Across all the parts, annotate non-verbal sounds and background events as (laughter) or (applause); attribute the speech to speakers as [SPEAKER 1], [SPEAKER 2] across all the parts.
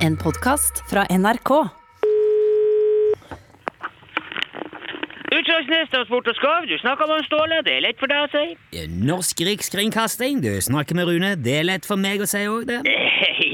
[SPEAKER 1] En podkast fra NRK.
[SPEAKER 2] Utslagsnes Transport og Skav, du snakker med Ståle, det er lett for deg å si. (laughs)
[SPEAKER 3] Norsk Rikskringkasting, du snakker med Rune. Det er lett for meg å si òg, det.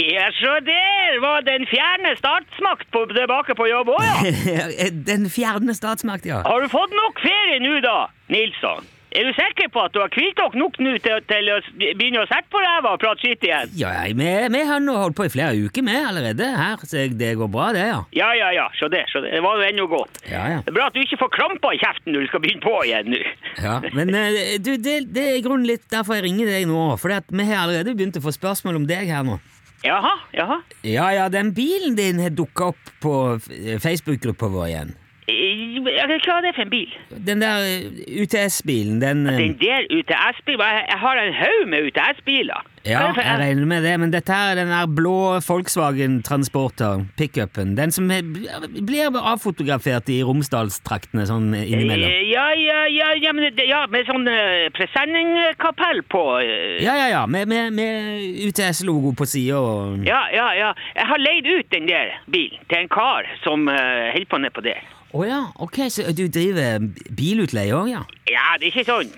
[SPEAKER 2] Ja, så der var den fjerne statsmakt på, tilbake på jobb òg, ja.
[SPEAKER 3] (laughs) Den fjerne statsmakt, ja.
[SPEAKER 2] Har du fått nok ferie nå da, Nilsson? Er du sikker på at du har hvilt dere nok nå til, til å s- begynne å sette på ræva og prate skitt igjen?
[SPEAKER 3] Ja, jeg- vi, vi har nå holdt på i flere uker med allerede her, så jeg- det går bra, det, ja.
[SPEAKER 2] Ja, ja, ja, så det, så det. Det var jo ennå godt.
[SPEAKER 3] Ja, ja.
[SPEAKER 2] Det er bra at du ikke får kramper i kjeften når du skal begynne på igjen nå.
[SPEAKER 3] ja. Men eh, du, det, det er i grunnen litt derfor jeg ringer deg nå, for vi har allerede begynt å få spørsmål om deg her nå.
[SPEAKER 2] Jaha, jaha.
[SPEAKER 3] Ja, ja, den bilen din har dukka opp på eh, Facebook-gruppa vår igjen.
[SPEAKER 2] Eh, Hva er det for en bil?
[SPEAKER 3] Den der eh, UTS-bilen, den eh,
[SPEAKER 2] Den der UTS-bilen? hva- Jeg har en haug med UTS-biler.
[SPEAKER 3] Ja,
[SPEAKER 2] Hva er det for-
[SPEAKER 3] jeg regner med det, men dette her er den der blå Volkswagen-transporter, pickupen. Den som er- blir avfotografert i Romsdalstraktene sånn innimellom.
[SPEAKER 2] Eh, Ja, ja, ja, ja, men, det- ja med sånn eh, presenningskapell på. eh,
[SPEAKER 3] Ja, ja, ja, med, med, med UTS-logo på sida og
[SPEAKER 2] Ja, ja, ja. Jeg har leid ut den der bilen til en kar som eh, holder på ned på det.
[SPEAKER 3] Å ja, ok, så du driver bilutleie òg, ja?
[SPEAKER 2] Ja, det er ikke sånn,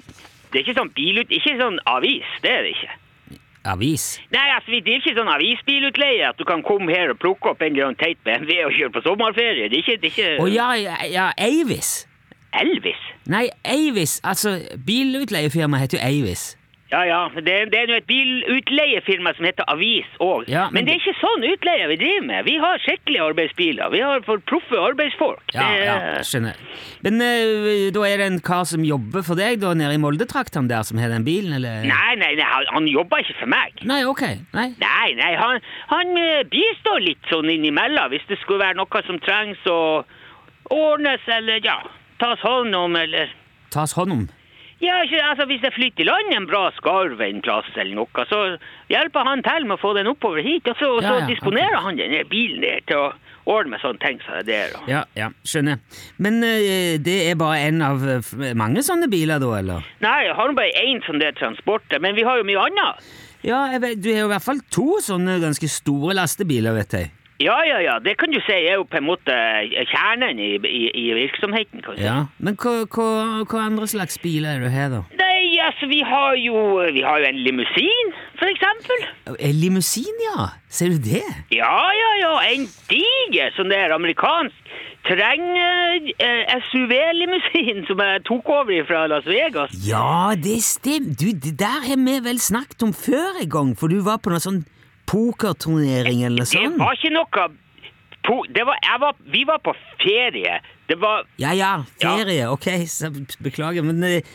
[SPEAKER 2] det er ikke sånn bilut, ikke sånn avis, det er det ikke.
[SPEAKER 3] Avis?
[SPEAKER 2] Nei, altså, vi driver ikke sånn avisbilutleie, at du kan komme her og plukke opp en eller annen teit BMW og kjøre på sommerferie. Det er ikke, det er ikke
[SPEAKER 3] Å ja, ja, ja, Avis?
[SPEAKER 2] Elvis.
[SPEAKER 3] Nei, Avis, altså bilutleiefirmaet heter jo Avis.
[SPEAKER 2] Ja, ja, det, det er nå et bilutleiefirma som heter Avis òg.
[SPEAKER 3] Ja,
[SPEAKER 2] men,
[SPEAKER 3] men
[SPEAKER 2] det er ikke sånn utleie vi driver med. Vi har skikkelige arbeidsbiler. Vi har for proffe arbeidsfolk.
[SPEAKER 3] Ja,
[SPEAKER 2] Det-
[SPEAKER 3] ja, skjønner. Men eh, da er det en kar som jobber for deg da nede i Moldetraktene der, som har den bilen, eller?
[SPEAKER 2] Nei, nei, nei, han, han jobber ikke for meg.
[SPEAKER 3] Nei, ok. Nei.
[SPEAKER 2] Nei, nei, han, han eh, bistår litt sånn innimellom hvis det skulle være noe som trengs å ordnes eller ja, tas hånd om eller
[SPEAKER 3] Tas hånd om.
[SPEAKER 2] Ja, ikke, altså Hvis jeg flytter i land en bra skarv en plass eller noe, så hjelper han til med å få den oppover hit, og så, og så
[SPEAKER 3] Ja, ja,
[SPEAKER 2] disponerer han den der bilen der til å ordne med sånne ting som det der. og-
[SPEAKER 3] Ja, ja, skjønner. Men eh, det er bare en av eh, f- mange sånne biler, da, eller?
[SPEAKER 2] Nei, jeg har nå bare én sånn der transport, men vi har jo mye annet.
[SPEAKER 3] Ja, jeg vet, du har jo i hvert fall to sånne ganske store lastebiler, vet jeg.
[SPEAKER 2] Ja, ja, ja, det kan du si er jo på en måte kjernen i, i, i virksomheten, kan du si.
[SPEAKER 3] Ja. Men hva, hva, hva andre slags biler er det du har, da?
[SPEAKER 2] Nei, altså, vi har jo, vi har jo en limousin, for eksempel.
[SPEAKER 3] Eh, Limousin, ja! Ser du det?
[SPEAKER 2] Ja, ja, ja, en diger sånn der amerikansk eh, terreng-SUV-limousin som jeg tok over fra Las Vegas.
[SPEAKER 3] Ja, det stemmer. Du, det der har vi vel snakket om før en gang, for du var på noen sånn pokerturnering eller sånn. noe
[SPEAKER 2] Det
[SPEAKER 3] sånt.
[SPEAKER 2] var ikke noe... po- Det var, jeg var, vi var på ferie. Det var...
[SPEAKER 3] Ja, ja, ferie, ok, så beklager, men eh,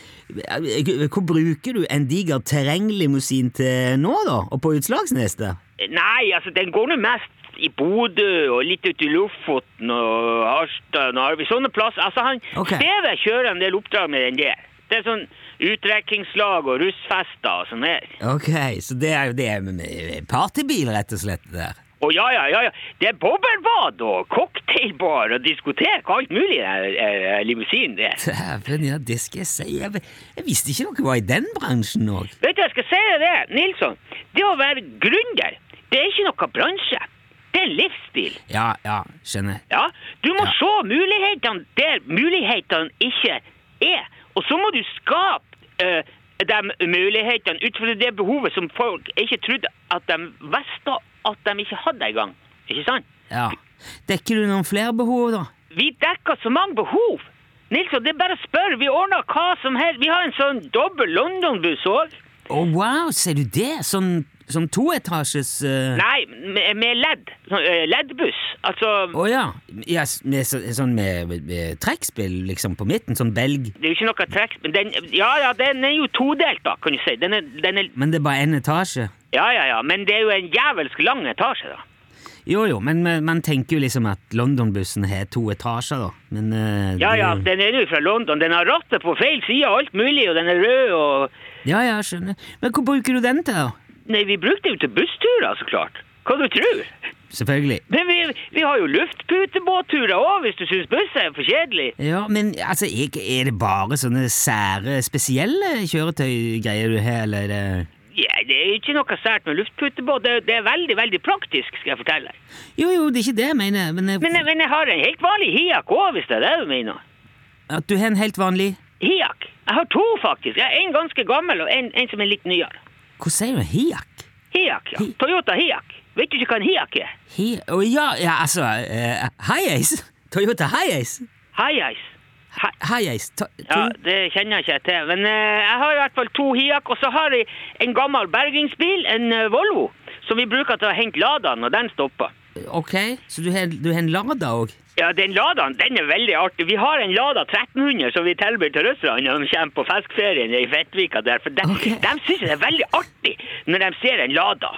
[SPEAKER 3] hvor bruker du en diger terrenglimousin til nå, da, og på Utslagsnes? da?
[SPEAKER 2] Nei, altså, den går nå mest i Bodø og litt ut i Lofoten og Harstad og Narvik. Sånne plasser. Altså, han
[SPEAKER 3] Ok.
[SPEAKER 2] Steve kjører en del oppdrag med den der. Det er sånn utdrekkingslag og russfester og sånn her.
[SPEAKER 3] Ok, så det er jo det med partybil, rett og slett, det der.
[SPEAKER 2] Å ja, ja, ja, ja. Det er bobblebad og cocktailbar og diskotek og alt mulig i den eh, limousinen der.
[SPEAKER 3] Dæven, ja, det skal jeg si. Jeg, jeg visste ikke noe var i den bransjen òg.
[SPEAKER 2] Vet du, jeg skal si deg det, Nilsson. Det å være gründer, det er ikke noe bransje. Det er en livsstil.
[SPEAKER 3] Ja, ja, skjønner.
[SPEAKER 2] Ja, du må
[SPEAKER 3] Ja.
[SPEAKER 2] se mulighetene der mulighetene ikke er. Og så må du skape eh, de mulighetene ut fra det behovet som folk ikke trodde at de visste at de ikke hadde engang. Ikke sant?
[SPEAKER 3] Ja. Dekker du noen flere behov, da?
[SPEAKER 2] Vi dekker så mange behov. Nilsson, det er bare å spørre. Vi ordner hva som helst. Vi har en sånn dobbel London-buss òg.
[SPEAKER 3] Å, wow, ser du det? Sånn, sånn toetasjes eh,
[SPEAKER 2] Nei, med, med LED. Sånn, eh, LED-buss. Altså
[SPEAKER 3] Å ja. ja s- med, så- sånn med, med, med trekkspill liksom på midten, sånn belg.
[SPEAKER 2] Det er jo ikke noe trekk... Men den, ja, ja, den er jo todelt, da, kan du si. Den er, den er
[SPEAKER 3] Men det er bare én etasje.
[SPEAKER 2] Ja, ja, ja, men det er jo en jævelsk lang etasje, da.
[SPEAKER 3] Jo jo, men men man tenker jo liksom at London-bussen har to etasjer, da. Men eh,
[SPEAKER 2] Ja, ja,
[SPEAKER 3] det,
[SPEAKER 2] den er jo fra London. Den har rattet på feil side og alt mulig, og den er rød og
[SPEAKER 3] ja, ja, skjønner. Men hva bruker du den til, da?
[SPEAKER 2] Nei, vi brukte jo til bussturer, så klart. Hva du tror?
[SPEAKER 3] Selvfølgelig.
[SPEAKER 2] Men vi, vi har jo luftputebåtturer òg, hvis du syns buss er for kjedelig.
[SPEAKER 3] Ja, men altså, er, er det bare sånne sære, spesielle kjøretøygreier du har, eller eh? er det
[SPEAKER 2] Ja, det er ikke noe sært med luftputebåt. Det, det er veldig, veldig praktisk, skal jeg fortelle.
[SPEAKER 3] Jo, jo, det er ikke det jeg mener, men, eh, jeg-
[SPEAKER 2] Men, eh, jeg- men jeg har en helt vanlig hiak òg, hvis det er det du mener.
[SPEAKER 3] at du har en helt vanlig
[SPEAKER 2] Hiak. Jeg har to, faktisk. Jeg har En ganske gammel og en, en som er litt nyere.
[SPEAKER 3] Hva sier du? Hiak?
[SPEAKER 2] Hiak, ja.
[SPEAKER 3] Hi-
[SPEAKER 2] Toyota Hiak. Vet du ikke hva en hiak er?
[SPEAKER 3] Hi... Å ja, ja, altså eh, Hiace? Toyota Hiace?
[SPEAKER 2] High-ice. Hi
[SPEAKER 3] Hiace to, to,
[SPEAKER 2] ja, det kjenner jeg ikke jeg til. Men eh, jeg har i hvert fall to hiak, og så har jeg en gammel bergingsbil, en eh, Volvo, som vi bruker til å hente Ladaen når den stopper.
[SPEAKER 3] Ok, så du har, du har en Lada òg?
[SPEAKER 2] Ja, den Ladaen, den er veldig artig. Vi har en Lada 1300 som vi tilbyr til russerne når de kommer på fiskferien i Fettvika der, for de,
[SPEAKER 3] Ok.
[SPEAKER 2] de syns det er veldig artig når de ser en Lada.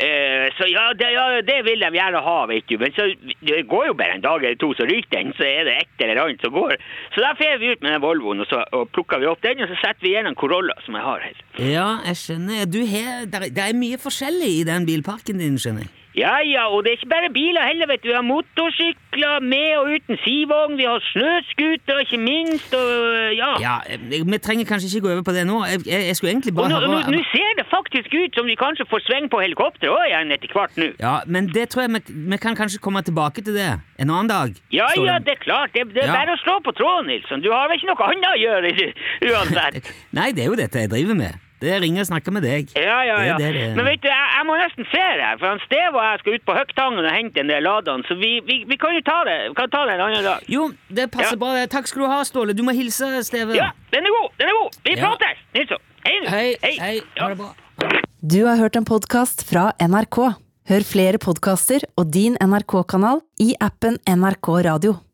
[SPEAKER 2] Eh, så ja det, ja, det vil de gjerne ha, vet du. Men så det går jo bare en dag eller to, så ryker den, så er det et eller annet som går. Så da fer vi ut med den Volvoen, og så og plukker vi opp den, og så setter vi igjen en Corolla som jeg har her.
[SPEAKER 3] Ja, jeg skjønner. Du har, der, det er mye forskjellig i den bilparken din, skjønner jeg.
[SPEAKER 2] Ja, ja, og det er ikke bare biler heller, vet du. Vi har motorsykler med og uten sidevogn, vi har snøskuter, ikke minst, og ja.
[SPEAKER 3] Ja, eh, Vi trenger kanskje ikke gå over på det nå. Jeg, jeg, jeg skulle egentlig
[SPEAKER 2] Og
[SPEAKER 3] bare
[SPEAKER 2] nå, nå, nå
[SPEAKER 3] høre
[SPEAKER 2] ser det faktisk ut som de kanskje får sving på helikopteret òg igjen etter hvert nå.
[SPEAKER 3] Ja, Men det tror jeg vi, vi kan kanskje komme tilbake til det en annen dag.
[SPEAKER 2] Ja,
[SPEAKER 3] står
[SPEAKER 2] ja,
[SPEAKER 3] det.
[SPEAKER 2] det er klart. Det, det er
[SPEAKER 3] Ja.
[SPEAKER 2] bare å slå på tråden, Nilsson. Du har vel ikke noe annet å gjøre du,
[SPEAKER 3] (laughs)
[SPEAKER 2] uansett.
[SPEAKER 3] Nei, det er jo dette jeg driver med. Det er ringer og snakker med deg.
[SPEAKER 2] Ja, ja, ja.
[SPEAKER 3] Det er det det er.
[SPEAKER 2] Men vet du, jeg, jeg må nesten se det her, for han Steve og jeg skal ut på Høgtangen og hente en del ladan, så vi, vi, vi kan jo ta det Vi kan ta det en annen dag.
[SPEAKER 3] Jo, det passer
[SPEAKER 2] Ja.
[SPEAKER 3] bra. Takk skal du ha, Ståle. Du må hilse Steve.
[SPEAKER 2] Ja, den er god! Den er god! Vi
[SPEAKER 3] Ja.
[SPEAKER 2] prates, Nilsson. Hei nå.
[SPEAKER 3] Hei, hei.
[SPEAKER 2] Ja.
[SPEAKER 3] Ha det bra.
[SPEAKER 1] Du har hørt en podkast fra NRK. Hør flere podkaster og din NRK-kanal i appen NRK Radio.